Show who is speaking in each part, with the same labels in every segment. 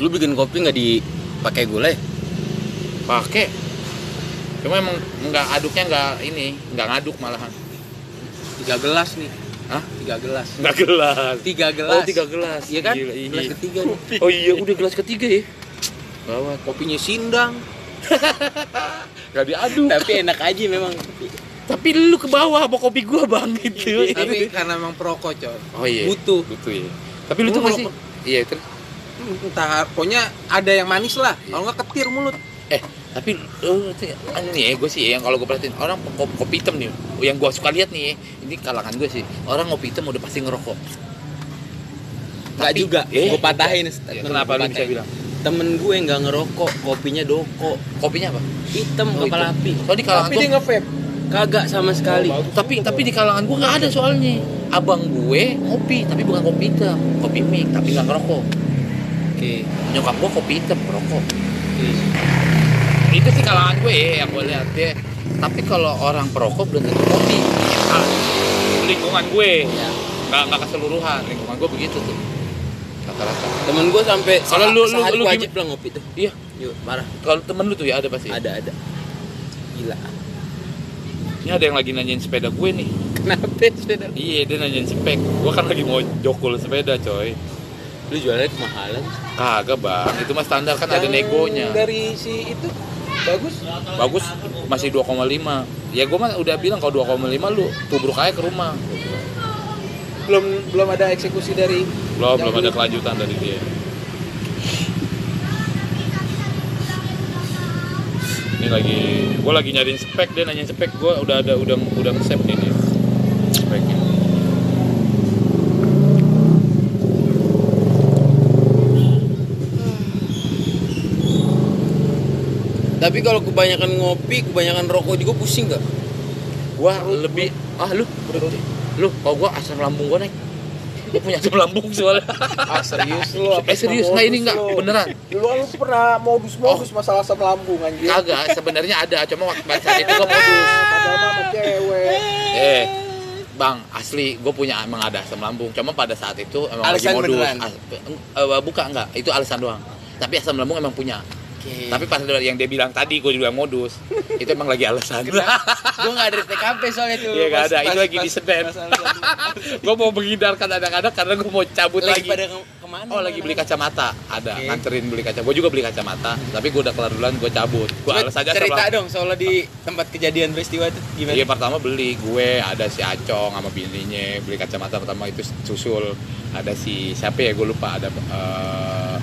Speaker 1: Lu bikin kopi nggak dipakai
Speaker 2: ya?
Speaker 1: gulai?
Speaker 3: pakai cuma emang nggak aduknya nggak ini nggak ngaduk malahan
Speaker 2: tiga gelas nih
Speaker 3: Hah?
Speaker 2: tiga gelas
Speaker 3: nggak gelas
Speaker 2: tiga gelas
Speaker 3: oh tiga gelas
Speaker 2: iya kan
Speaker 3: Gila,
Speaker 2: gelas
Speaker 3: iya.
Speaker 2: ketiga nih.
Speaker 3: oh iya udah gelas ketiga ya bawa
Speaker 2: kopinya sindang
Speaker 3: nggak diaduk
Speaker 2: tapi enak aja memang
Speaker 3: tapi lu ke bawah bawa kopi gua bang
Speaker 2: Iya,
Speaker 3: gitu
Speaker 2: tapi karena memang perokok coy
Speaker 3: oh iya
Speaker 2: butuh
Speaker 3: butuh ya tapi lu
Speaker 2: Gua
Speaker 3: tuh masih
Speaker 2: ngerokok.
Speaker 3: iya terus
Speaker 2: entah pokoknya ada yang manis lah kalau nggak ketir mulut
Speaker 3: eh tapi lu tuh aneh nih ya gue sih yang kalau gue perhatiin orang kopi, kopi hitam nih yang gue suka lihat nih ya, ini kalangan gue sih orang ngopi hitam udah pasti ngerokok
Speaker 2: nggak
Speaker 3: Tapi-
Speaker 2: juga
Speaker 3: eh,
Speaker 2: gue patahin
Speaker 3: Ya,
Speaker 2: statement
Speaker 3: kenapa
Speaker 2: gua
Speaker 3: lu bisa
Speaker 2: patahin.
Speaker 3: bilang
Speaker 2: temen gue nggak ngerokok kopinya doko
Speaker 3: kopinya apa
Speaker 2: hitam
Speaker 3: Oh,
Speaker 2: kepala api
Speaker 3: soalnya di kalangan
Speaker 2: tapi
Speaker 3: gua-
Speaker 2: dia ngevape kagak sama sekali
Speaker 3: tapi tapi di kalangan gue nggak ada soalnya abang gue kopi tapi bukan kopi hitam kopi mik tapi nggak ngerokok
Speaker 2: oke
Speaker 3: nyokap gue kopi hitam ngerokok
Speaker 2: oke.
Speaker 3: itu sih kalangan gue ya yang gue lihat ya tapi kalau orang perokok belum tentu kopi Ah, lingkungan gue
Speaker 2: Ya.
Speaker 3: nggak nggak keseluruhan lingkungan gue begitu tuh rata-rata
Speaker 2: temen gue sampai
Speaker 3: Kalau
Speaker 2: seha-
Speaker 3: lu- lu-
Speaker 2: sehari
Speaker 3: lu
Speaker 2: gua
Speaker 3: gimana?
Speaker 2: wajib lah ngopi tuh
Speaker 3: iya
Speaker 2: yuk marah
Speaker 3: kalau temen lu tuh ya ada pasti
Speaker 2: ada ada gila
Speaker 3: ini ada yang lagi nanyain sepeda gue nih
Speaker 2: kenapa sepeda
Speaker 3: iya dia nanyain spek gue kan lagi mau jokul sepeda coy
Speaker 2: lu jualnya kemahalan
Speaker 3: kagak bang itu mah standar kan ada
Speaker 2: Yang
Speaker 3: negonya
Speaker 2: dari si itu bagus
Speaker 3: bagus masih 2,5 ya gue mah udah bilang kalau 2,5 lu tubruk aja ke rumah
Speaker 2: belum belum ada eksekusi dari Yang
Speaker 3: belum belum ada
Speaker 2: dulu.
Speaker 3: kelanjutan dari dia ini lagi gue lagi nyariin spek dia nanya spek gue udah ada udah udah nge-save nih dia speknya
Speaker 2: tapi kalau kebanyakan ngopi kebanyakan rokok juga pusing nggak
Speaker 3: gue lebih ah lu lu kalau gue asam lambung gue naik gue punya asam lambung soalnya
Speaker 2: ah serius Nah, lu
Speaker 3: eh serius nggak ini nggak beneran
Speaker 4: Dulu lu pernah
Speaker 2: Oh.
Speaker 4: modus-modus masalah asam lambung
Speaker 2: Ah.
Speaker 4: anjir.
Speaker 3: kagak sebenarnya ada cuma waktu saat itu gue modus
Speaker 4: Padahal mah sama cewek.
Speaker 3: Eh, Bang, asli gue punya emang ada asam lambung. Cuma pada saat itu emang
Speaker 2: Alasan
Speaker 3: lagi modus.
Speaker 2: beneran?
Speaker 3: As- eng- eh, buka enggak? Itu alasan doang. Tapi asam lambung emang punya.
Speaker 2: Iya.
Speaker 3: Tapi pas yang dia bilang tadi gue juga modus. itu emang lagi alasan.
Speaker 2: gue nggak ada TKP soalnya tuh
Speaker 3: Iya, nggak
Speaker 2: Pas-
Speaker 3: ada. Itu
Speaker 2: pas-
Speaker 3: lagi di
Speaker 2: pas-
Speaker 3: Senen.
Speaker 2: pas alasan.
Speaker 3: gue mau menghindarkan anak-anak karena gue mau cabut
Speaker 2: lagi
Speaker 3: lagi.
Speaker 2: pada ke- kemana
Speaker 3: Oh lagi beli
Speaker 2: kacang
Speaker 3: kacamata, ada
Speaker 2: Oke.
Speaker 3: nganterin beli kacamata. Gue juga beli kacamata, tapi gue udah kelar duluan, gue cabut. Gue alas aja asam
Speaker 2: cerita
Speaker 3: lambung.
Speaker 2: dong soalnya di tempat kejadian peristiwa itu gimana
Speaker 3: Iya pertama beli gue ada si Acong sama bininya beli kacamata pertama itu susul ada si siapa ya gue lupa ada eh,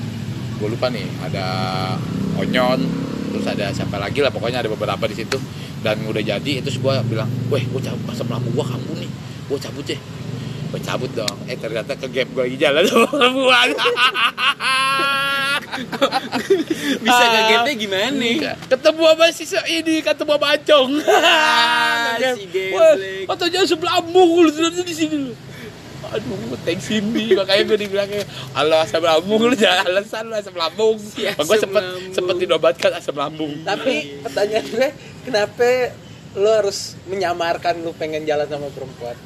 Speaker 3: gue lupa nih ada Onyon terus ada siapa lagi lah pokoknya ada beberapa di situ dan udah jadi terus gue bilang weh gue cabut asam lambung gue kambuh nih gue cabut deh gue cabut dong eh ternyata ke gap gue lagi jalan sama perempuan
Speaker 2: bisa
Speaker 4: Ah.
Speaker 2: kagetnya gimana nih
Speaker 3: ketemu sama si se- ini ketemu sama Acong
Speaker 2: si Ah,
Speaker 3: Wah,
Speaker 2: geblek.
Speaker 3: katanya sebelah lambung lu ternyata di sini lu aduh thanks Cindy makanya gue dibilangnya Allah asam lambung lu jangan alasan lu asam lambung
Speaker 2: Si asam
Speaker 3: gue sempet
Speaker 2: lambung.
Speaker 3: sempet dinobatkan "Ah, asam lambung
Speaker 4: Tapi pertanyaan gue, kenapa lu harus menyamarkan lu pengen jalan sama perempuan?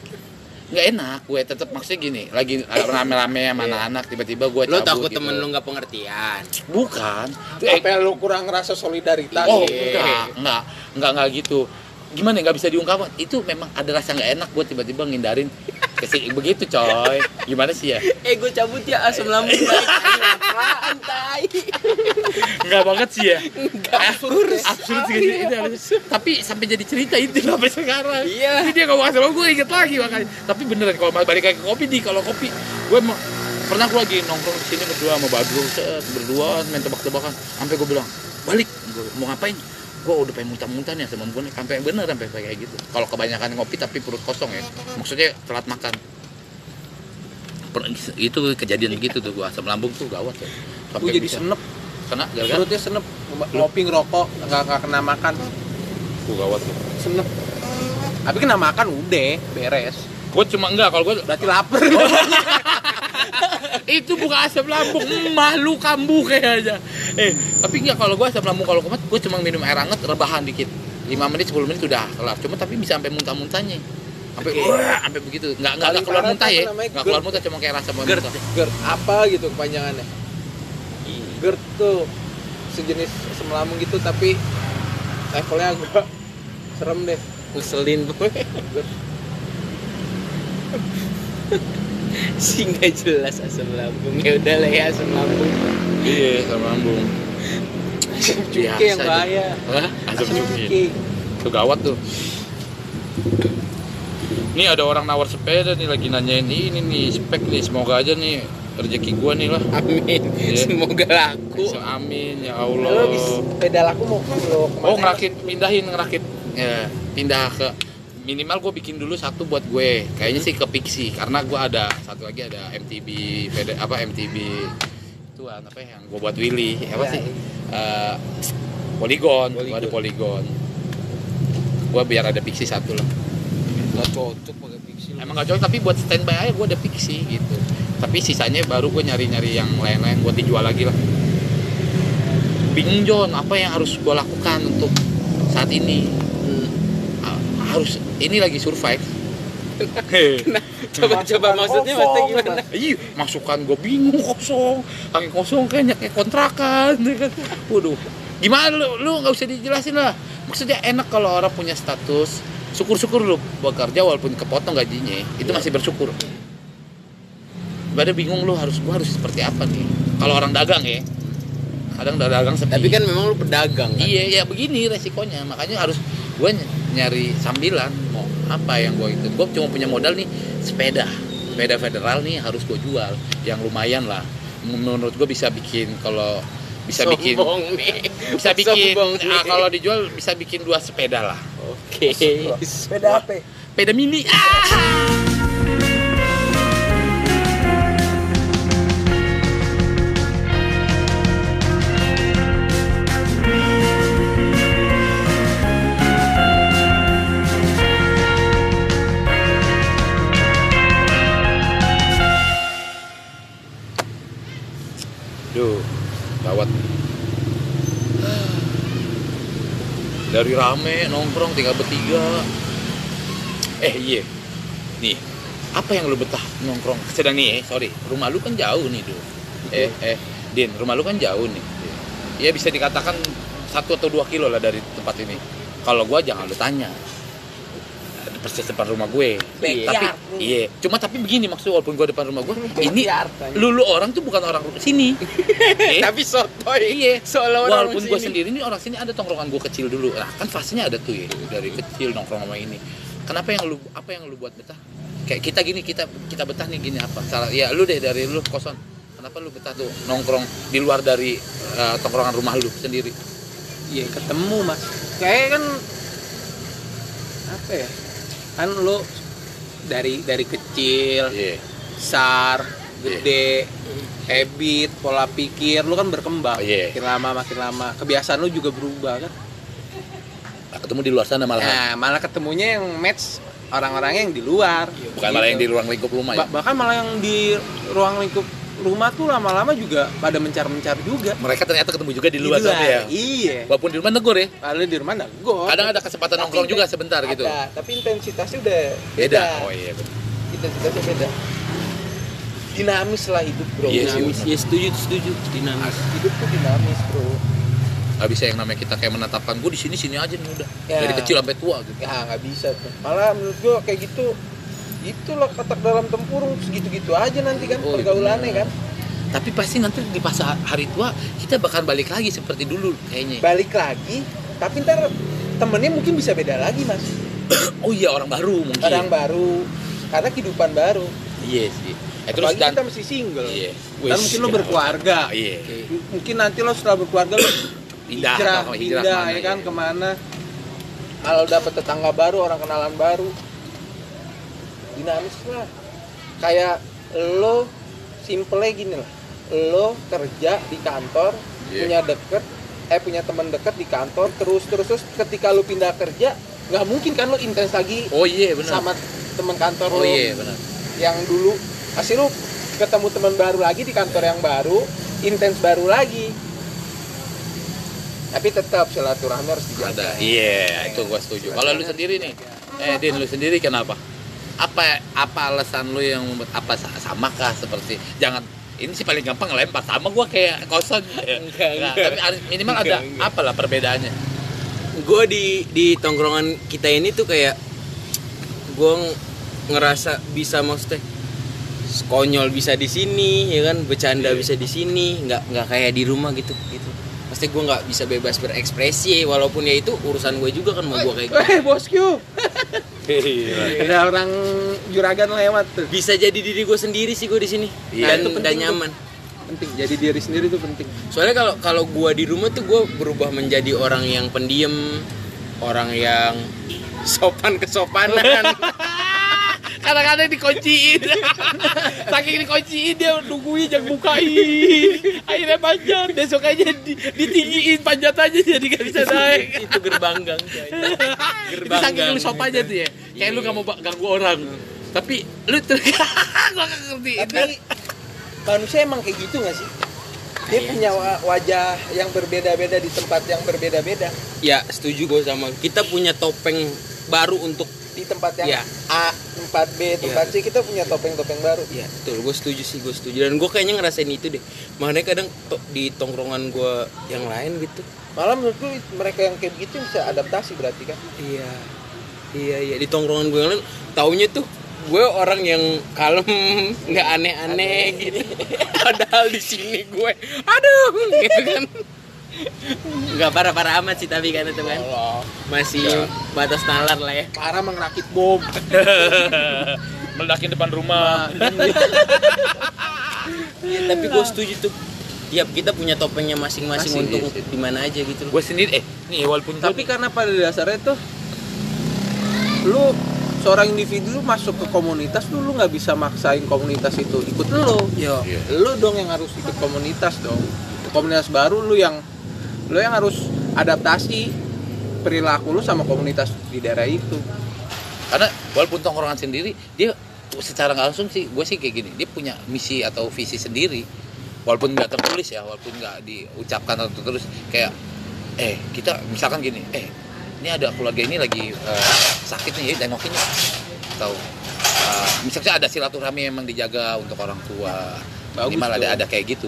Speaker 3: nggak enak gue tetep maksudnya gini lagi rame-rame sama anak-anak tiba-tiba gue
Speaker 2: Iya. lo takut temen lo nggak pengertian
Speaker 3: bukan Eh,
Speaker 4: Apa yang lu kurang rasa solidaritas?
Speaker 3: Oh,
Speaker 2: Iya.
Speaker 4: gitu?
Speaker 3: enggak, enggak, enggak, enggak gitu. Gimana ya, nggak bisa diungkapkan? Itu memang ada rasa nggak enak buat tiba-tiba ngindarin ke si- begitu coy. Gimana sih ya?
Speaker 2: eh gue cabut ya asam lambung baik apaan tai
Speaker 3: Enggak banget sih ya. absurd. Absurd sih gitu. Itu absurd. Tapi sampai jadi cerita itu sampai sekarang.
Speaker 2: Iya.
Speaker 3: Jadi dia ngomong "Ah, sama gue inget lagi makanya. Tapi beneran kalau balik lagi ke kopi di kalau kopi gue emang pernah gue lagi nongkrong di sini berdua sama Badru set, berdua main tebak-tebakan sampai gue bilang balik Gua, mau ngapain gue udah pengen muntah-muntah nih sama gue nih sampai bener sampai kayak gitu kalau kebanyakan ngopi tapi perut kosong ya maksudnya telat makan Per- itu kejadian begitu tuh gue asam lambung tuh gawat ya
Speaker 2: gue jadi senep
Speaker 3: kena gara-gara
Speaker 2: perutnya senep
Speaker 4: Ngopi ngerokok, nggak nggak kena makan,
Speaker 3: gue gawat tuh
Speaker 4: senep. Tapi kena makan udah beres.
Speaker 3: Gue cuma enggak kalau gue
Speaker 4: Berarti lapar.
Speaker 2: Oh.
Speaker 3: itu bukan asam lambung, emah lu kambuh kayaknya. Eh, tapi enggak kalau gue asam lambung kalau kumat, gue cuma minum air hangat rebahan dikit. 5 menit 10 menit udah kelar. Cuma tapi bisa sampai muntah-muntahnya. Sampai wah, sampai begitu. Enggak enggak
Speaker 4: Paling
Speaker 3: keluar
Speaker 4: parah
Speaker 3: muntah
Speaker 4: tuh
Speaker 3: ya.
Speaker 4: namanya
Speaker 3: Enggak
Speaker 4: GERD. gitu
Speaker 3: keluar muntah cuma kayak rasa muntah.
Speaker 4: Ger, apa gitu kepanjangannya?
Speaker 3: Iya.
Speaker 4: GERD tuh sejenis semelamun gitu tapi levelnya agak serem deh
Speaker 2: Ngeselin
Speaker 4: GERD.
Speaker 2: sih nggak jelas asam lambung ya udah lah ya asam lambung
Speaker 3: Iya, sama lambung.
Speaker 4: Cuki yang bahaya
Speaker 3: Hah? Asam cuki.
Speaker 4: Cuki.
Speaker 3: Itu gawat tuh. Nih ada orang nawar sepeda nih lagi nanyain ini nih spek nih semoga aja nih rezeki gua nih lah.
Speaker 2: amin
Speaker 3: Iya.
Speaker 2: semoga laku
Speaker 3: Bisa amin ya
Speaker 4: Lo
Speaker 3: Allah.
Speaker 4: bis- pedal aku mau lo kemana?
Speaker 3: Oh ngerakit pindahin ngerakit. Ya, pindah ke minimal gue bikin dulu satu buat gue kayaknya sih ke Pixi karena gue ada satu lagi ada MTB PD apa MTB itu apa ya, yang gue buat Willy apa
Speaker 4: Ya,
Speaker 3: sih Eh, poligon, Gua
Speaker 2: Poligon.
Speaker 3: ada poligon gue biar ada Pixi satu lah
Speaker 2: nggak cocok pakai pixie
Speaker 3: emang gak cocok tapi buat standby aja gue ada Pixi gitu tapi sisanya baru gue nyari-nyari yang lain-lain buat dijual lagi lah bingung John apa yang harus gue lakukan untuk saat ini Ah, harus ini lagi survive
Speaker 2: coba coba
Speaker 4: Masukan
Speaker 2: maksudnya
Speaker 4: kosong,
Speaker 2: maksudnya gimana
Speaker 4: Mas.
Speaker 3: Iya, masukan gue bingung kosong, angin kosong kayaknya kayak kontrakan, ya kan? Waduh, gimana lu? Lu nggak usah dijelasin lah. Maksudnya enak kalau orang punya status, syukur-syukur lu bekerja walaupun kepotong gajinya, itu masih bersyukur. Pada bingung lu harus gua harus seperti apa nih? Kalau orang dagang ya, kadang udah dagang sepi.
Speaker 2: tapi kan memang lu pedagang kan
Speaker 3: Iya, ya begini resikonya. Makanya harus gue nyari sambilan mau apa yang gue itu. Gue cuma punya modal nih sepeda. Sepeda federal nih harus gue jual yang lumayan lah. Menurut gue bisa bikin kalau bisa bikin
Speaker 2: Sombong nih
Speaker 3: bisa bikin
Speaker 2: Sombong nih.
Speaker 3: ah, kalau dijual bisa bikin dua sepeda lah.
Speaker 2: oke
Speaker 4: Sepeda HP.
Speaker 3: Sepeda mini. Ah! Duh, gawat. Dari rame nongkrong tiga bertiga. Eh iya, nih apa yang lu betah nongkrong? Sedang nih, eh, sorry, rumah lu kan jauh nih duh. Eh eh, Din, rumah lu kan jauh nih. Ya bisa dikatakan satu atau dua kilo lah dari tempat ini. Kalau gua jangan lu tanya persis depan rumah gue.
Speaker 4: Iya.
Speaker 3: Tapi
Speaker 4: Backyard.
Speaker 3: iya, cuma tapi begini maksud walaupun gua depan rumah gue, ini
Speaker 4: Backyard, anjing.
Speaker 3: lulu orang tuh bukan orang sini. Eh,
Speaker 2: tapi sotoy
Speaker 3: Iya.
Speaker 2: seolah-olah
Speaker 3: walaupun
Speaker 2: orang
Speaker 3: gue
Speaker 2: sini.
Speaker 3: sendiri nih orang sini ada tongkrongan gue kecil dulu nah kan fasenya ada tuh ya dari kecil nongkrong sama ini kenapa yang lu apa yang lu buat betah kayak kita gini kita kita betah nih gini apa salah ya lu deh dari lu kosan kenapa lu betah tuh nongkrong di luar dari eh, tongkrongan rumah lu sendiri
Speaker 4: Iya ketemu mas. Kayaknya kan apa ya? Kan lo dari dari kecil
Speaker 3: iya
Speaker 4: besar gede habit pola pikir lu kan berkembang
Speaker 3: Oh, iya.
Speaker 4: makin lama makin lama kebiasaan lu juga berubah kan
Speaker 3: Nah, ketemu di luar sana malah
Speaker 4: nah malah ketemunya yang match orang-orangnya yang di luar
Speaker 3: Iya, bukan malah yang di ruang lingkup rumah ya
Speaker 4: Ba- bahkan malah yang di ruang lingkup rumah tuh lama-lama juga pada mencar-mencar juga
Speaker 3: mereka ternyata ketemu juga di luar, sana ya
Speaker 4: iya
Speaker 3: walaupun di rumah negor ya
Speaker 4: lalu di rumah nanggur
Speaker 3: kadang ada kesempatan
Speaker 4: Tapi
Speaker 3: nongkrong juga
Speaker 4: inten-
Speaker 3: sebentar gitu
Speaker 4: ada, tapi intensitasnya udah
Speaker 3: beda oh iya bener.
Speaker 4: intensitasnya beda dinamis lah hidup bro
Speaker 3: Iya sih,
Speaker 2: dinamis
Speaker 4: dinamis.
Speaker 2: ya setuju setuju dinamis
Speaker 4: hidup tuh dinamis bro
Speaker 3: nggak bisa yang namanya kita kayak menetapkan gue di sini sini aja nih udah
Speaker 4: Ya.
Speaker 3: dari kecil sampai tua gitu
Speaker 4: ya nggak bisa tuh malah menurut gua kayak gitu itulah katak dalam tempurung segitu-gitu aja nanti kan
Speaker 3: Oh, iya
Speaker 4: pergaulannya
Speaker 3: bener.
Speaker 4: kan
Speaker 3: tapi pasti nanti di pas hari tua kita bakal balik lagi seperti dulu kayaknya
Speaker 4: balik lagi tapi ntar temennya mungkin bisa beda lagi mas
Speaker 3: oh iya orang baru mungkin
Speaker 4: orang baru karena kehidupan baru
Speaker 3: iya sih eh, terus
Speaker 4: terus
Speaker 3: dan
Speaker 4: kita masih single
Speaker 3: iya
Speaker 4: dan mungkin lo berkeluarga
Speaker 3: iya
Speaker 4: M- mungkin nanti lo setelah berkeluarga lo
Speaker 3: Pindah,
Speaker 4: hijrah,
Speaker 3: atau Ah,
Speaker 4: pindah,
Speaker 3: hijrah kemana,
Speaker 4: ya kan
Speaker 3: iya.
Speaker 4: kemana kalau dapet tetangga baru orang kenalan baru dinamis lah kayak lo simple gini lah lo kerja di kantor
Speaker 3: Iya.
Speaker 4: punya deket eh punya teman deket di kantor terus terus terus ketika lo pindah kerja nggak mungkin kan lo intens lagi
Speaker 3: oh iya benar
Speaker 4: sama teman kantor
Speaker 3: oh
Speaker 4: lo
Speaker 3: iya benar
Speaker 4: yang dulu pasti lu ketemu teman baru lagi di kantor yang baru intens baru lagi tapi tetap silaturahmi harus
Speaker 3: ada
Speaker 4: dijaga
Speaker 3: iya itu gua setuju kalau lu sendiri nih eh din lu sendiri kenapa apa apa alasan lu yang membuat apa sa- sama kah seperti jangan ini sih paling gampang ngelempar sama gua kayak kosan
Speaker 2: Enggak,
Speaker 3: Nah,
Speaker 2: enggak.
Speaker 3: tapi harus- minimal ada
Speaker 2: Enggak, enggak.
Speaker 3: apalah perbedaannya
Speaker 2: gue di di tongkrongan kita ini tuh kayak gue ngerasa bisa maksudnya konyol bisa di sini ya kan
Speaker 4: Iya.
Speaker 2: bercanda bisa di sini nggak nggak kayak di rumah gitu gitu pasti gue nggak bisa bebas berekspresi walaupun ya itu urusan gue juga kan mau gue kayak gitu.
Speaker 4: Eh, bosku. Ada orang juragan lewat tuh.
Speaker 2: bisa jadi diri gue sendiri sih gue di sini
Speaker 4: Iya.
Speaker 2: dan
Speaker 4: Itu penting
Speaker 2: dan
Speaker 4: tuh.
Speaker 2: nyaman
Speaker 4: Penting jadi diri sendiri tuh penting.
Speaker 2: soalnya kalau kalau gue di rumah tuh gue berubah menjadi orang yang pendiam orang yang sopan kesopanan
Speaker 3: kadang-kadang dikunciin saking dikunciin dia nungguin yang bukain akhirnya panjat besok aja di- ditinggiin panjat aja jadi gak bisa naik
Speaker 2: itu gerbang gang
Speaker 3: itu saking lu sop aja tuh ya kayak lu gak mau ba- ganggu orang tapi lu ter gua gak ngerti
Speaker 4: Tapi manusia emang kayak gitu gak sih? Dia punya wa- wajah yang berbeda-beda di tempat yang berbeda-beda.
Speaker 2: ya setuju gue sama kita punya topeng baru untuk
Speaker 4: Di tempat yang
Speaker 2: Iya.
Speaker 4: A, tempat B, tempat C kita punya topeng-topeng baru.
Speaker 2: ya betul gue setuju sih gue setuju dan gue kayaknya ngerasain itu deh makanya kadang to- di tongkrongan gue yang lain gitu
Speaker 4: Malah menurut gue mereka yang kayak begitu bisa adaptasi berarti kan?
Speaker 2: iya iya iya di tongkrongan gue yang lain taunya tuh gue orang yang kalem nggak aneh-aneh gitu padahal di sini gue aduh gitu kan nggak parah-parah amat sih tapi kan itu kan
Speaker 4: Iya.
Speaker 2: masih batas nalar lah ya
Speaker 4: Parah mengrakit bom.
Speaker 3: meledakin depan rumah
Speaker 2: Nah, Ya, tapi gue setuju tuh tiap kita punya topengnya masing-masing
Speaker 4: Masing,
Speaker 2: untuk
Speaker 4: iya.
Speaker 2: di mana aja gitu loh.
Speaker 3: gue sendiri eh nih walaupun gua-
Speaker 4: Tapi karena pada dasarnya tuh lu seorang individu lu masuk ke komunitas lu lu nggak bisa maksain komunitas itu ikut lu. Iya.
Speaker 2: Yo.
Speaker 4: Lu dong yang harus ikut komunitas dong. Komunitas baru lu yang lu yang harus adaptasi perilaku lu sama komunitas di daerah itu.
Speaker 3: karena walaupun tongkrongan sendiri dia secara nggak langsung sih gue sih kayak gini dia punya misi atau visi sendiri walaupun nggak tertulis ya walaupun nggak diucapkan atau tertulis kayak eh kita misalkan gini eh ini ada keluarga ini lagi eh, sakit nih dan tengokin yuk." atau eh, misalnya ada silaturahmi yang emang dijaga untuk orang tua
Speaker 4: Bagus
Speaker 3: minimal ada
Speaker 4: dong.
Speaker 3: ada kayak gitu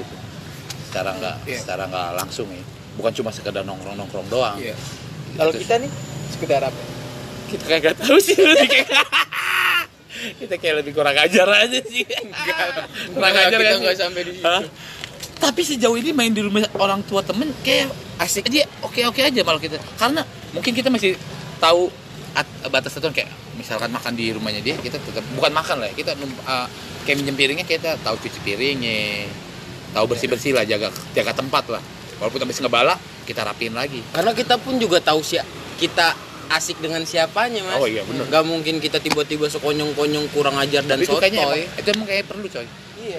Speaker 3: secara nggak secara nggak langsung ya bukan cuma sekedar nongkrong nongkrong doang
Speaker 4: Kalau
Speaker 3: Gitu.
Speaker 4: kita nih sekedar apa?
Speaker 3: kita kayak gak tahu sih lebih kayak kita kayak lebih kurang ajar aja sih kurang ajar
Speaker 2: kita
Speaker 3: kan
Speaker 2: nggak
Speaker 3: sih?
Speaker 2: sampai di situ.
Speaker 3: Hah? tapi sejauh ini main di rumah orang tua temen kayak asik aja oke oke aja malah kita karena mungkin kita masih tahu at- batas aturan kayak misalkan makan di rumahnya dia kita tetap bukan makan lah ya, kita num- uh, kayak minjem piringnya kita tahu cuci piringnya tahu bersih bersih lah jaga jaga tempat lah walaupun habis ngebala kita rapiin lagi
Speaker 2: Karena kita pun juga tahu sih kita asik dengan siapanya mas.
Speaker 3: Oh, iya, bener.
Speaker 2: Gak mungkin kita tiba-tiba sekonyong-konyong kurang ajar dan
Speaker 3: Tapi itu
Speaker 2: sotoy.
Speaker 3: kayaknya emang, itu emang kayak perlu coy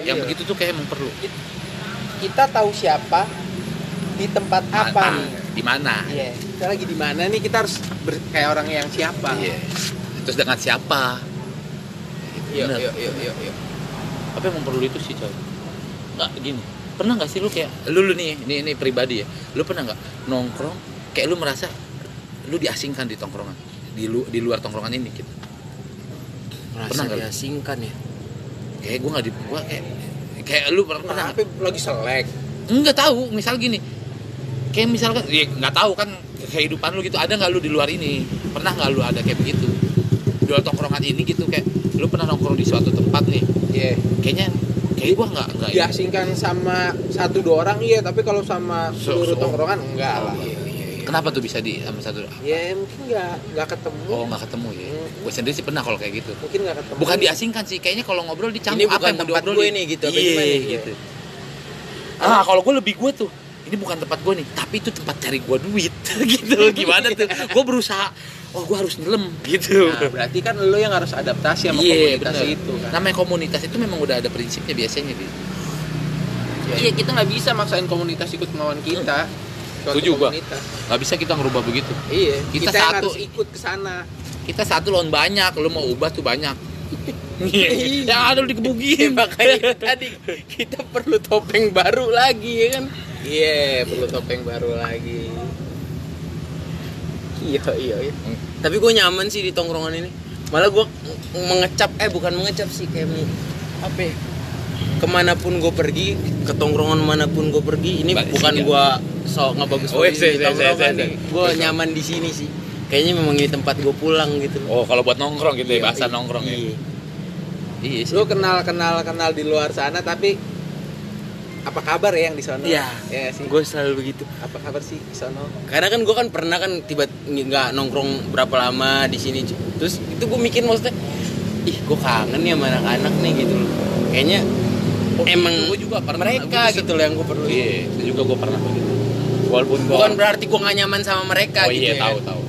Speaker 3: yang begitu tuh kayak emang perlu
Speaker 4: Iya, Kita tahu siapa di tempat apa
Speaker 3: Ah,
Speaker 4: nih.
Speaker 3: di mana
Speaker 4: Iya. Kita lagi di mana nih? Kita harus ber- kayak orang yang siapa?
Speaker 3: Iya. terus dengan siapa
Speaker 2: Iya,
Speaker 3: Bener.
Speaker 2: iya, iya, iya, iya.
Speaker 3: apa yang perlu itu sih coy nggak gini pernah nggak sih lu kayak lu, lu nih ini ini pribadi ya lu pernah nggak nongkrong kayak lu merasa lu diasingkan di tongkrongan di, lu, di luar tongkrongan ini gitu
Speaker 2: Merasa
Speaker 3: Pernah nggak?
Speaker 2: diasingkan ya.
Speaker 3: kayak gua nggak di gua kayak kayak lu pernah pernah nggak?
Speaker 4: Kenapa lagi selek?
Speaker 3: nggak tahu misal gini kayak misalkan ya nggak tahu kan kehidupan lu gitu ada nggak lu di luar ini pernah nggak lu ada kayak begitu di luar tongkrongan ini gitu kayak lu pernah nongkrong di suatu tempat nih
Speaker 4: Iya.
Speaker 3: kayaknya kayak gua nggak nggak
Speaker 2: Ya.
Speaker 3: ini.
Speaker 4: Diasingkan sama satu dua orang iya, tapi kalau sama
Speaker 3: Se-
Speaker 4: seluruh
Speaker 3: se-
Speaker 4: tongkrongan enggak lah.
Speaker 3: Oh, iya, kenapa tuh bisa di sama satu
Speaker 4: Ya mungkin nggak nggak ketemu.
Speaker 3: oh nggak ketemu ya gue sendiri sih pernah kalau kayak gitu
Speaker 4: Mungkin nggak ketemu.
Speaker 3: bukan diasingkan sih kayaknya kalau ngobrol dicampur
Speaker 2: Ini bukan
Speaker 3: yang mau
Speaker 2: tempat
Speaker 3: diobrolin?
Speaker 2: gue nih, gitu, apa
Speaker 3: iya
Speaker 2: gimana?
Speaker 3: gitu ah kalau gue lebih gue tuh ini bukan tempat gue nih tapi itu tempat cari gue duit gitu gimana tuh gue berusaha oh gue harus nyelam gitu
Speaker 2: Iya.
Speaker 4: Nah, berarti kan lo yang harus adaptasi sama
Speaker 3: Iya,
Speaker 4: komunitas
Speaker 3: bener.
Speaker 4: itu kan.
Speaker 3: namanya komunitas itu memang udah ada prinsipnya biasanya Bi.
Speaker 4: Iya, kita nggak bisa maksain komunitas ikut kemauan kita. Suatu
Speaker 3: Setuju gua.
Speaker 4: komunitas.
Speaker 3: nggak bisa kita ngerubah begitu
Speaker 4: Iya,
Speaker 3: Kita
Speaker 4: kita, yang
Speaker 3: satu.
Speaker 4: harus ikut ke sana.
Speaker 3: kita satu lawan banyak lu mau ubah tuh banyak ya ada lu
Speaker 2: Ya,
Speaker 3: dikebukin
Speaker 2: Iya. makanya tadi kita perlu topeng baru lagi ya kan.
Speaker 4: Iya, perlu topeng baru lagi.
Speaker 2: Iya, iya, iya. Tapi gue nyaman sih di tongkrongan ini. Malah gue mengecap eh bukan mengecap sih kayak meng- apa ya? kemanapun gue pergi ke tongkrongan manapun gue pergi ini
Speaker 1: Balik
Speaker 2: bukan
Speaker 1: sini.
Speaker 2: gue sok nggak bagus
Speaker 1: Oh, iya, iya, iya, iya, iya.
Speaker 2: gue nyaman di sini sih kayaknya memang ini tempat gue pulang gitu loh.
Speaker 3: Oh, kalau buat nongkrong gitu ya, bahasa
Speaker 2: Iya,
Speaker 3: nongkrong ya.
Speaker 2: iya.
Speaker 3: Iya sih.
Speaker 4: lu kenal kenal kenal di luar sana tapi apa kabar ya yang di sana
Speaker 2: Iya.
Speaker 4: ya sih
Speaker 2: gue selalu begitu
Speaker 4: apa kabar sih di sana
Speaker 2: karena kan gue kan pernah kan tiba nggak nongkrong berapa lama di sini cu. terus itu gue mikir maksudnya ih gue kangen ya sama anak-anak nih gitu loh kayaknya emang
Speaker 3: gua juga pernah,
Speaker 2: mereka
Speaker 3: gua bisa-
Speaker 2: gitu loh yang gue perlu
Speaker 3: Iya, itu juga gue pernah begitu. Walaupun gua
Speaker 2: bukan berarti gue gak nyaman sama mereka
Speaker 3: Oh
Speaker 2: gitu
Speaker 3: iya,
Speaker 2: ya
Speaker 3: tahu,
Speaker 2: kan.
Speaker 3: tahu.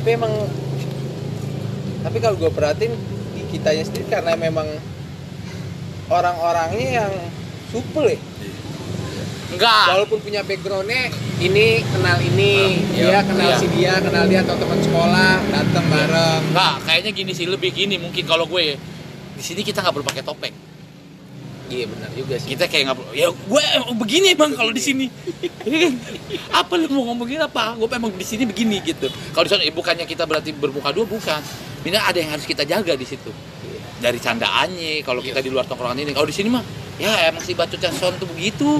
Speaker 4: tapi emang tapi kalau gue perhatiin di kitanya sendiri karena memang orang-orangnya yang supel ya
Speaker 2: enggak
Speaker 4: walaupun punya backgroundnya ini kenal ini
Speaker 2: Ah, iya.
Speaker 4: dia kenal
Speaker 3: Iya.
Speaker 4: si dia kenal dia atau teman sekolah datang bareng
Speaker 3: Enggak, kayaknya gini sih, lebih gini mungkin kalau gue ya. Di sini kita nggak perlu pakai topeng.
Speaker 4: iya benar juga sih
Speaker 3: Kita kayak nggak perlu. Ya gue emang begini bang kalau di sini. Iya kan? apa lu mau ngomongin apa? Gue emang di sini begini gitu. Kalau di sana eh, bukannya kita berarti bermuka dua bukan. Ini ada yang harus kita jaga di situ. Dari candaannya, kalau kita di luar tongkrongan ini. Kalau di sini mah, ya emang si bacot yang son tuh begitu.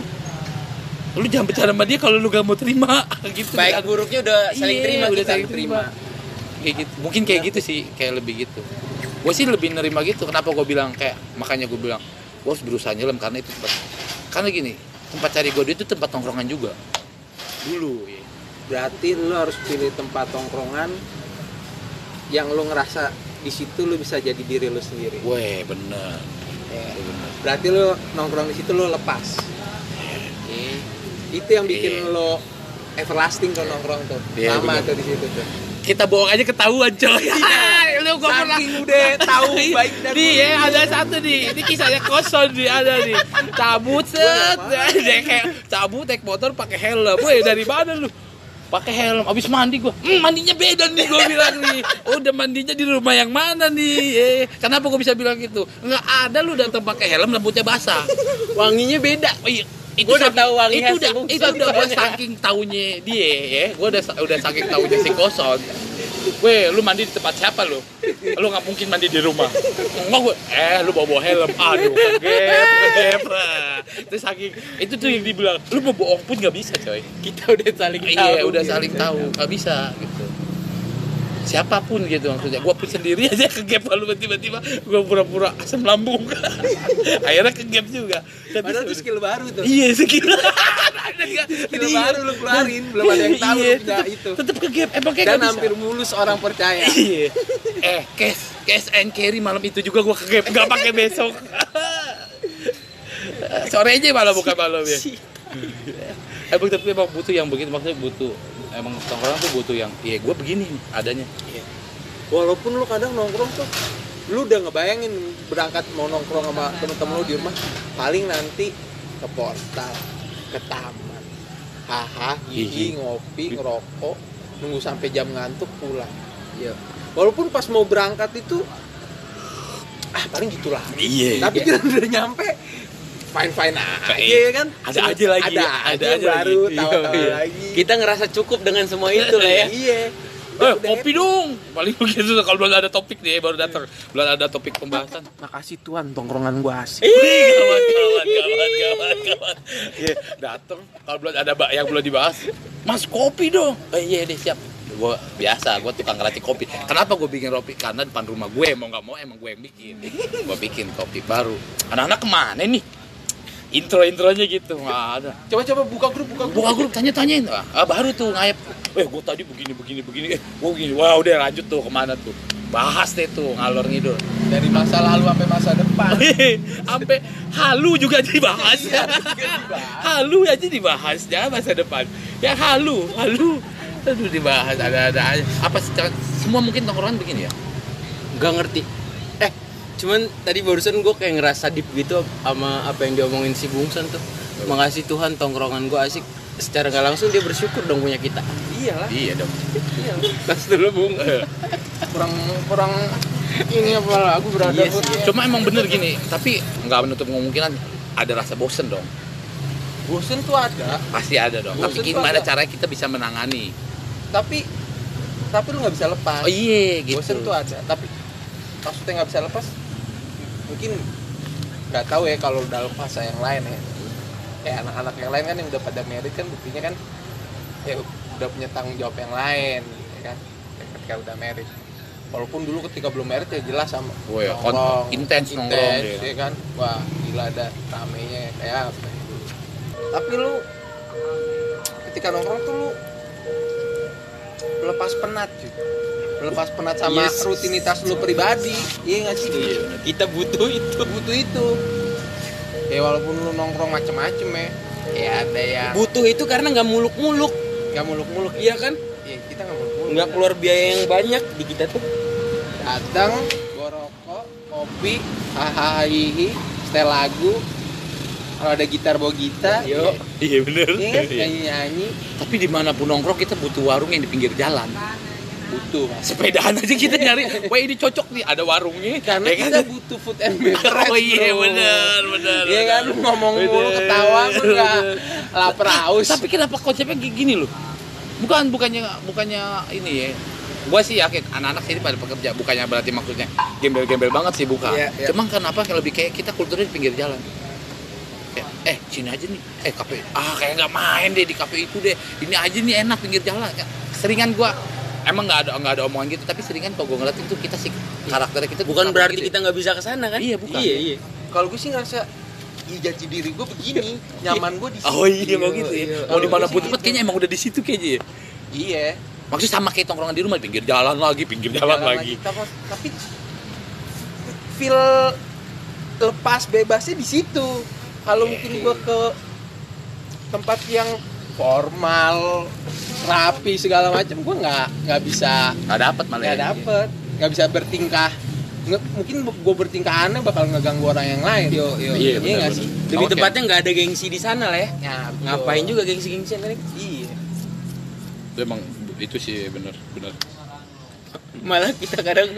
Speaker 3: Lu jangan bicara sama dia kalau lu gak mau terima gitu.
Speaker 2: baik buruknya udah saling
Speaker 3: Iya,
Speaker 2: terima
Speaker 3: udah
Speaker 2: kita.
Speaker 3: saling terima. kayak gitu mungkin kayak gitu sih kayak lebih gitu gue sih lebih nerima gitu kenapa gue bilang kayak makanya gue bilang gue harus berusaha nyelam karena itu tempat karena gini tempat cari gue itu tempat tongkrongan juga dulu ya.
Speaker 4: berarti lu harus pilih tempat tongkrongan yang lu ngerasa di situ lu bisa jadi diri lu sendiri
Speaker 3: weh bener
Speaker 4: Ya.
Speaker 3: bener
Speaker 4: berarti lu nongkrong di situ lu lepas itu yang bikin
Speaker 3: Iya.
Speaker 4: lo everlasting tuh nongkrong tuh
Speaker 3: Iya,
Speaker 4: lama
Speaker 3: benar.
Speaker 4: tuh di situ tuh
Speaker 3: kita bohong aja ketahuan coy Iya, lu gua pernah-
Speaker 4: saking udah tahu baik dan
Speaker 3: Nih ya, ada satu nih. Ini kisahnya kosong nih, ada nih. Cabut set, dia kayak cabut naik motor pakai helm. Woi, dari mana lu? Pakai helm. Abis mandi gua. Hmm, mandinya beda nih gua bilang nih. Udah mandinya di rumah yang mana nih? Eh, kenapa gua bisa bilang gitu? Enggak ada lu datang pakai helm rambutnya basah.
Speaker 2: wanginya beda
Speaker 3: Oh, iya. Itu
Speaker 2: Gua udah
Speaker 3: saking-
Speaker 2: tahu wangi
Speaker 3: itu
Speaker 2: hasil
Speaker 3: udah
Speaker 2: bungsu
Speaker 3: itu udah gua
Speaker 2: soalnya.
Speaker 3: saking taunya dia ya gua udah udah saking taunya si kosong Weh, lu mandi di tempat siapa lu? Lu nggak mungkin mandi di rumah. Enggak gue, eh lu bawa bawa helm, aduh, gep, gep. Terus saking itu tuh yang dibilang, lu mau bohong pun nggak bisa coy.
Speaker 2: kita udah saling
Speaker 3: Iya, udah
Speaker 2: gitu.
Speaker 3: saling tahu, nggak bisa gitu. Siapapun gitu maksudnya, gua pun sendiri aja kegep lu tiba-tiba, gua pura-pura asam lambung. Akhirnya kegep juga. Tapi
Speaker 4: padahal itu skill baru tuh
Speaker 3: Iya sekitar.
Speaker 4: skill baru lu keluarin belum ada yang tahu lu punya itu
Speaker 3: Tetap Iya, ke gap. Emang kayak
Speaker 4: dan
Speaker 3: nggak Iya, bisa.
Speaker 4: hampir mulus orang percaya
Speaker 3: Iya. Eh, cash, cash and carry malam itu juga gua ke gap. Gak pakai besok. Sore aja malah bukan malam ya. Emang tapi emang butuh yang begitu maksudnya butuh emang orang tuh butuh yang iya gua begini nih adanya.
Speaker 4: walaupun lu kadang nongkrong tuh lu udah ngebayangin berangkat mau nongkrong sama temen-temen lu di rumah paling nanti ke portal ke taman haha
Speaker 3: Hihi.
Speaker 4: hihi ngopi ngerokok nunggu sampai jam ngantuk pulang
Speaker 2: Iya.
Speaker 4: walaupun pas mau berangkat itu ah paling gitulah
Speaker 3: Iya.
Speaker 4: tapi kita udah nyampe fine fine aja ya kan
Speaker 3: Ada aja lagi,
Speaker 4: ada,
Speaker 3: ada
Speaker 4: aja,
Speaker 3: aja
Speaker 4: baru
Speaker 3: lagi.
Speaker 4: tahu tahu
Speaker 3: Iya.
Speaker 4: lagi
Speaker 2: kita ngerasa cukup dengan semua itu lah ya
Speaker 4: iya
Speaker 3: Eh, kopi dong. Paling begitu tuh, kalau belum ada topik nih baru datang. Belum ada topik pembahasan.
Speaker 4: makasih tuan tongkrongan gua asik
Speaker 3: Ih, kawan, kawan, kawan, kawan, kawan. Iya, dateng. Kalau belum ada ba- yang belum dibahas, Mas kopi dong. Eh, iya deh siap. Gue biasa, gue tukang ngeracik kopi. Kenapa gue bikin kopi? Karena depan rumah gue mau nggak mau emang gue yang bikin. Gue bikin kopi baru. Anak-anak kemana nih? Intro-intronya gitu, nggak ada.
Speaker 4: coba coba buka grup buka grup
Speaker 3: Buka grup tanya-tanyain ah, ah, baru tuh ngayap eh gue tadi begini begini begini eh gue gini wah udah lanjut tuh kemana tuh bahas deh tuh ngalor ngidul
Speaker 4: dari masa lalu sampai masa depan
Speaker 3: sampai halu juga dibahas
Speaker 2: Iya,
Speaker 3: halu aja dibahas ya masa depan ya halu halu aduh dibahas ada ada aja. apa secara- semua mungkin tongkrongan begini ya
Speaker 2: Gak ngerti. Eh, cuman tadi barusan gue kayak ngerasa deep gitu sama apa yang diomongin si Bungsan tuh. Makasih Tuhan tongkrongan gue asik. Secara nggak langsung dia bersyukur dong punya kita.
Speaker 4: iyalah
Speaker 3: iya dong Eh,
Speaker 2: Tas dulu Bung.
Speaker 4: kurang kurang ini apa aku berada
Speaker 2: Iya sih.
Speaker 4: Gua-
Speaker 3: cuma emang bener gini tapi nggak menutup kemungkinan ada rasa bosen dong
Speaker 4: bosen tuh ada
Speaker 3: pasti ada dong
Speaker 4: Bosen
Speaker 3: tapi
Speaker 4: tuh
Speaker 3: gimana
Speaker 4: ada.
Speaker 3: caranya kita bisa menangani
Speaker 4: tapi tapi lu nggak bisa lepas
Speaker 3: oh iya gitu
Speaker 4: bosen tuh ada tapi maksudnya nggak bisa lepas mungkin nggak tahu ya kalau dalam fase yang lain ya kayak anak-anak yang lain kan yang udah pada merit kan buktinya kan ya udah punya tanggung jawab yang lain ya kan Ya, ketika udah merit walaupun dulu ketika belum merit ya jelas sama
Speaker 3: Oh ya, kon-
Speaker 4: nongkrong,
Speaker 3: intens nongkrong
Speaker 4: intens,
Speaker 3: dia.
Speaker 4: ya kan wah gila ada ramenya kayak apa ya dulu. tapi lu ketika nongkrong tuh lu lepas penat gitu lepas penat sama
Speaker 2: Yes.
Speaker 4: rutinitas lu pribadi iya nggak sih
Speaker 2: kita butuh itu
Speaker 4: butuh itu ya walaupun lu nongkrong macem-macem ya ya ada yang
Speaker 2: butuh itu karena nggak muluk-muluk
Speaker 4: nggak muluk-muluk
Speaker 2: iya kan
Speaker 4: ya kita nggak muluk-muluk
Speaker 2: nggak keluar biaya yang banyak di kita tuh
Speaker 4: datang gua rokok kopi hahaha setel lagu kalau ada gitar bawa gitar
Speaker 2: Yo.
Speaker 3: Iya bener.
Speaker 4: iya nyanyi nyanyi
Speaker 3: Tapi dimanapun nongkrong kita butuh warung yang di pinggir jalan.
Speaker 4: butuh mas
Speaker 3: Sepedaan aja kita nyari. Wah ini cocok nih, ada warungnya.
Speaker 4: karena
Speaker 3: Ya
Speaker 4: kita butuh food and beverage
Speaker 3: Oh iya
Speaker 4: bro.
Speaker 3: bener bener.
Speaker 4: Iya kan lu ngomong mulu
Speaker 3: Bener.
Speaker 4: ketawa lu nggak lapar haus
Speaker 3: Tapi kenapa konsepnya kayak gini loh? Bukan bukannya bukannya ini ya. Gua sih yakin anak-anak sini pada pekerja, bukannya berarti maksudnya gembel-gembel banget sih bukan.
Speaker 4: Iya, iya.
Speaker 3: Cuman kenapa kalau lebih kayak kita kulturnya di pinggir jalan? Kayak, eh sini aja nih, eh kafe ah kayak nggak main deh di kafe itu deh. Ini aja nih enak pinggir jalan. Seringan gua emang nggak ada nggak ada omongan gitu, tapi seringan kalau gua ngeliat itu kita sih karakternya kita
Speaker 2: bukan
Speaker 3: kenapa
Speaker 2: berarti
Speaker 3: gitu ya?
Speaker 2: kita nggak bisa ke sana kan
Speaker 3: Iya, bukan.
Speaker 2: iya iya
Speaker 4: kalau gue sih ngerasa "Ih, jati diri gue begini nyaman gue di sini
Speaker 3: Oh iya mau gitu
Speaker 4: Iya,
Speaker 3: ya.
Speaker 4: iya.
Speaker 3: Mau dimanapun
Speaker 4: Kalau
Speaker 3: tempat
Speaker 4: gitu.
Speaker 3: kayaknya emang udah di situ kayaknya. ya.
Speaker 4: iya
Speaker 3: Maksudnya sama kayak tongkrongan di rumah di pinggir jalan lagi, pinggir jalan,
Speaker 4: Jalan
Speaker 3: lagi.
Speaker 4: Tapi, tapi feel lepas bebasnya di situ. Kalau mungkin gua ke tempat yang formal, rapi segala macam, gua nggak nggak bisa
Speaker 3: Gak dapat malah.
Speaker 4: nggak
Speaker 3: ya.
Speaker 4: dapet, nggak bisa bertingkah. Nge- mungkin gue bertingkah aneh bakal ngeganggu orang yang lain. Yo, yo,
Speaker 3: Iya, benar,
Speaker 4: nggak
Speaker 3: benar.
Speaker 4: sih?
Speaker 2: lebih
Speaker 3: Oke.
Speaker 2: tepatnya nggak ada gengsi di sana lah ya
Speaker 4: Ya, betul.
Speaker 2: ngapain juga gengsi-gengsian kan
Speaker 4: Iya.
Speaker 3: Itu emang itu sih bener bener.
Speaker 2: malah kita kadang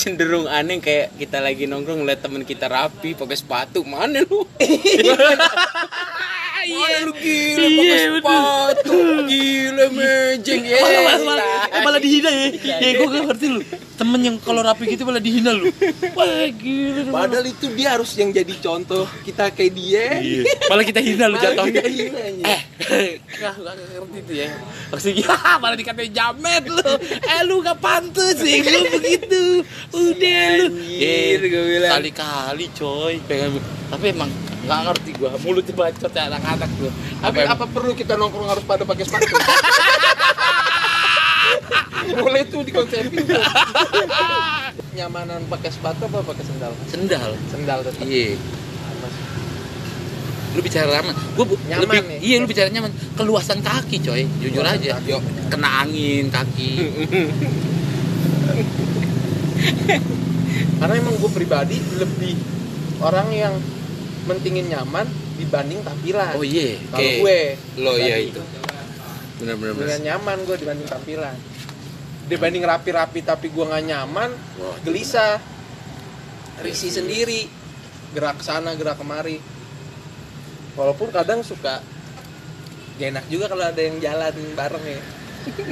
Speaker 2: cenderung aneh kayak kita lagi nongkrong ngeliat temen kita rapi pakai sepatu mana lu iya lu gila pakai sepatu gila mejeng
Speaker 4: Iya,
Speaker 2: ya
Speaker 1: malah, malah,
Speaker 3: Eh,
Speaker 1: malah dihina ya. Ya gue gak ngerti lu. Temen yang kalau rapi gitu malah dihina lu. Wah gila.
Speaker 4: Padahal itu dia harus yang jadi contoh kita kayak dia.
Speaker 3: Malah kita hina lu
Speaker 4: Malah
Speaker 3: Iya, jatuhnya.
Speaker 4: kita hina, anjing.
Speaker 3: Eh, nggak nggak ngerti tuh ya. Maksudnya "Haha, malah dikatain jamet lu. Eh lu gak pantas sih lu begitu. Udah lu.
Speaker 2: Anjir, gua bilang.
Speaker 3: Kali-kali coy. Pengen tapi emang nggak ngerti gua mulutnya bacot ya anak-anak tuh.
Speaker 4: Tapi apa perlu kita nongkrong harus pada pakai sepatu? Mulai tuh dikonsepin tuh. Nyamanan pakai sepatu apa pakai sendal?
Speaker 3: sendal?
Speaker 4: Sendal tetap.
Speaker 3: Iya. lu bicara nyaman gue
Speaker 4: Nyaman
Speaker 3: lebih,
Speaker 4: nih.
Speaker 3: iya lu bicara nyaman keluasan kaki coy jujur
Speaker 4: Keluasan
Speaker 3: aja
Speaker 4: kaki.
Speaker 3: Yo, kena angin kaki
Speaker 4: Karena emang gue pribadi lebih orang yang mentingin nyaman dibanding
Speaker 3: oh
Speaker 4: tampilan.
Speaker 3: iya
Speaker 4: Kalau
Speaker 2: oke.
Speaker 4: gue
Speaker 2: lo iya
Speaker 4: pribadi,
Speaker 2: itu bener-bener
Speaker 4: Dengan nyaman gue dibanding tampilan. Dibanding rapi-rapi tapi gue nggak nyaman, gelisah, risih sendiri, gerak sana gerak kemari. Walaupun kadang suka gak enak juga kalau ada yang jalan bareng ya.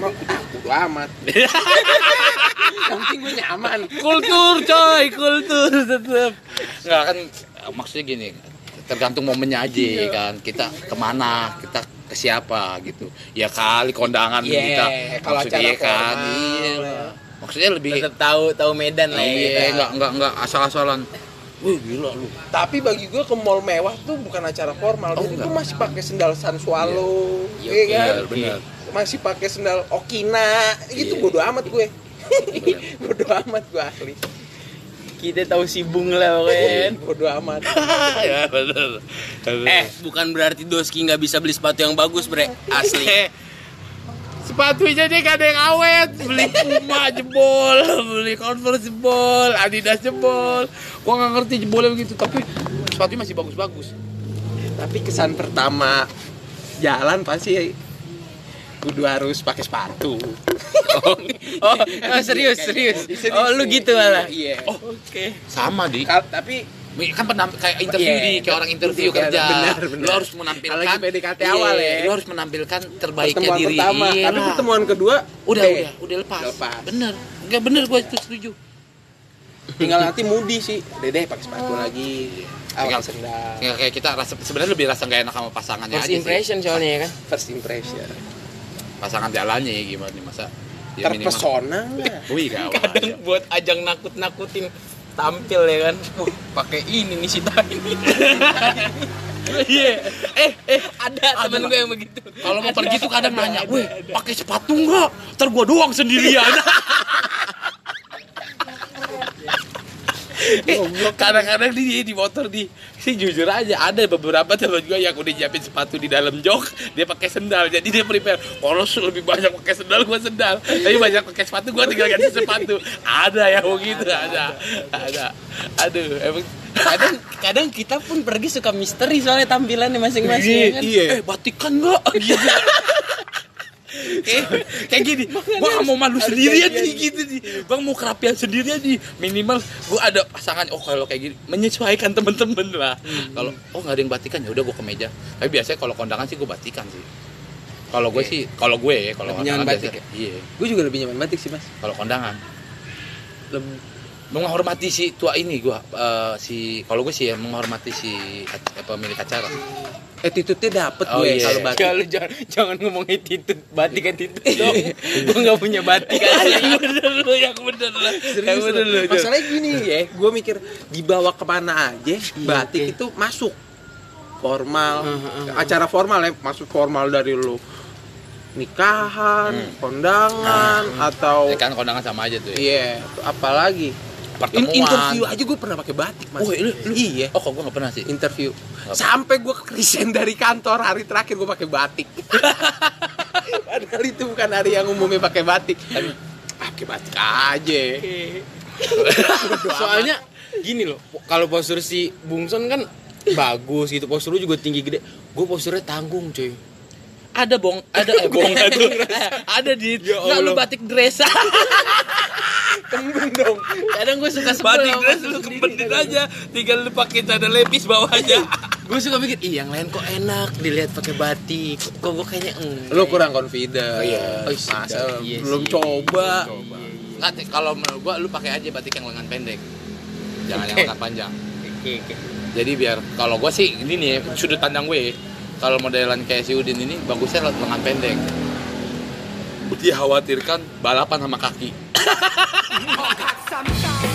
Speaker 4: Mau aku amat. yang penting gue nyaman.
Speaker 3: kultur coy kultur tetep nggak kan maksudnya gini tergantung momennya aja kan kita kemana kita ke siapa gitu ya kali kondangan
Speaker 4: Iya,
Speaker 3: kita
Speaker 4: kalau
Speaker 3: maksudnya
Speaker 4: acara
Speaker 3: kan
Speaker 4: formal,
Speaker 3: iya
Speaker 4: ya.
Speaker 3: maksudnya lebih
Speaker 2: tetap tahu tahu medan lah ya
Speaker 3: iya
Speaker 2: kita.
Speaker 3: nggak nggak nggak asal-asalan Wih gila lu
Speaker 4: Tapi bagi gue ke mall mewah tuh bukan acara formal.
Speaker 3: Oh,
Speaker 4: Jadi gue
Speaker 3: enggak.
Speaker 4: masih pakai sendal Sansualo,
Speaker 2: Iya.
Speaker 4: iya
Speaker 2: Iya,
Speaker 4: kan?
Speaker 3: Iya, benar
Speaker 4: masih pakai sendal Okina gitu
Speaker 3: Iya.
Speaker 4: bodo amat gue bodo amat gue asli
Speaker 2: kita tahu sibung lah pokoknya kan.
Speaker 4: bodo amat
Speaker 3: ya benar
Speaker 2: eh bukan berarti Doski nggak bisa beli sepatu yang bagus bre asli
Speaker 3: Eh, sepatunya dia gak ada yang awet beli Puma jebol beli Converse jebol Adidas jebol gua nggak ngerti jebolnya begitu tapi sepatunya masih bagus-bagus
Speaker 4: tapi kesan pertama jalan pasti kudu harus pakai sepatu
Speaker 2: oh, oh, serius serius oh lu gitu malah
Speaker 4: iya
Speaker 3: oh oke sama di
Speaker 4: Kal- tapi
Speaker 3: kan pernah kayak interview
Speaker 4: Iya,
Speaker 3: di kayak orang interview
Speaker 4: benar,
Speaker 3: kerja
Speaker 4: benar, benar.
Speaker 3: lu harus menampilkan
Speaker 4: Apalagi PDKT
Speaker 3: Iya,
Speaker 4: awal ya.
Speaker 3: lu harus menampilkan terbaiknya
Speaker 4: pertemuan
Speaker 3: diri
Speaker 4: pertama
Speaker 3: Iya
Speaker 4: tapi
Speaker 3: lah.
Speaker 4: pertemuan kedua
Speaker 3: udah
Speaker 4: deh.
Speaker 3: udah udah lepas,
Speaker 4: Lepas.
Speaker 3: bener nggak bener gua itu setuju
Speaker 4: tinggal nanti mudi sih deh deh pakai sepatu lagi
Speaker 3: Tinggal-
Speaker 4: awal sendal
Speaker 3: Ya, kayak kita rasa sebenarnya lebih rasa nggak enak sama pasangannya
Speaker 2: First
Speaker 3: aja sih.
Speaker 2: impression soalnya ya kan.
Speaker 4: first impression
Speaker 3: Pasangan jalannya ya gimana nih masa? Ya, minimal-
Speaker 4: terpesona lah
Speaker 3: Wih gawat.
Speaker 2: Kadang buat ajang nakut-nakutin tampil ya kan. Wah, pakai ini nih si Tani.
Speaker 1: Iya. Eh, eh,
Speaker 2: Ada temen gue yang begitu.
Speaker 3: Kalau mau pergi tuh kadang nanya, weh
Speaker 1: pakai sepatu nggak? Ntar gua doang sendirian.
Speaker 3: Eh, kadang-kadang di di motor di sih jujur aja ada beberapa teman juga yang udah nyiapin sepatu di dalam jok dia pakai sendal jadi dia prepare kalau su lebih banyak pakai sendal gua sendal tapi banyak pakai sepatu gua tinggal ganti sepatu ada ya begitu ada ada aduh emang
Speaker 2: Kadang kadang kita pun pergi suka misteri soalnya tampilannya masing-masing ya kan. Iya,
Speaker 1: Eh, batikan nggak? Gitu.
Speaker 3: kayak, Eh, kayak gini
Speaker 1: Gua mau malu
Speaker 4: Iya,
Speaker 1: sendirian nih gitu nih. Bang mau kerapian sendirian nih. Minimal gua ada pasangan. Oh, kalau kayak gini menyesuaikan temen-temen lah.
Speaker 4: Hmm.
Speaker 3: kalau oh nggak ada yang batikan ya udah gua ke meja tapi biasanya kalau kondangan sih gua batikan sih kalau gue sih kalau gue ya kalau
Speaker 4: Lebih nyaman
Speaker 3: kondangan
Speaker 4: batik
Speaker 3: biasanya- iya
Speaker 4: gue juga lebih nyaman batik sih mas
Speaker 3: kalau kondangan
Speaker 4: Lem-
Speaker 3: menghormati si tua ini gua eh, si kalau gue sih ya menghormati si ac- pemilik acara
Speaker 4: attitude-nya dapet
Speaker 3: Oh,
Speaker 4: gue
Speaker 3: iya.
Speaker 4: kalau batik
Speaker 2: Ya lu jangan, jangan ngomong attitude, batik attitude dong. gue gak punya batik aja.
Speaker 1: Yang bener lu, yang bener lu. Yang
Speaker 4: Serius,
Speaker 1: bener lu.
Speaker 4: loh. masalahnya gini ya gue mikir dibawa kemana aja
Speaker 3: Iya,
Speaker 4: batik itu masuk formal acara formal ya masuk formal dari lu nikahan kondangan atau
Speaker 3: ya kan kondangan sama aja tuh ya.
Speaker 4: iya apalagi In-
Speaker 3: pertemuan
Speaker 4: interview aja gue pernah pakai batik mas
Speaker 3: Woi, lu- lu-
Speaker 4: iya
Speaker 3: oh kok gue nggak pernah sih
Speaker 4: interview
Speaker 3: Apa?
Speaker 4: sampai gue resign dari kantor hari terakhir gue pakai batik padahal itu bukan hari yang umumnya pakai batik tapi ah, pakai batik aja
Speaker 2: Soalnya gini loh, po- kalau postur si Bungson kan bagus gitu, postur lu juga tinggi gede. Gue posturnya tanggung cuy.
Speaker 1: Ada bong, ada eh, bong Ya tuh. Ada di nggak lu
Speaker 2: Allah.
Speaker 1: batik dress.
Speaker 4: tembung dong
Speaker 2: Kadang gue suka sebel
Speaker 1: batik
Speaker 2: sama
Speaker 1: dress
Speaker 2: postur
Speaker 1: lu
Speaker 2: sendiri,
Speaker 1: kempenin
Speaker 2: kadang.
Speaker 1: aja. Tinggal lu pakai tanda lepis bawahnya.
Speaker 2: Gue suka mikir, ih yang lain kok enak dilihat pakai batik. Kok gue kayaknya enggak. ya?
Speaker 4: lo kurang confident
Speaker 2: Oh, iya. Oh, iya.
Speaker 4: Masa
Speaker 2: Iya
Speaker 4: belum
Speaker 2: sih.
Speaker 4: coba
Speaker 3: Nggak, Tik, kalau menurut gue lu pakai aja batik yang lengan pendek jangan yang lengan panjang
Speaker 2: Oke, oke.
Speaker 3: jadi biar kalau gue sih ini nih sudut pandang gue kalau modelan kayak si Udin ini bagusnya lengan pendek dikhawatirkan balapan sama kaki
Speaker 5: Sometimes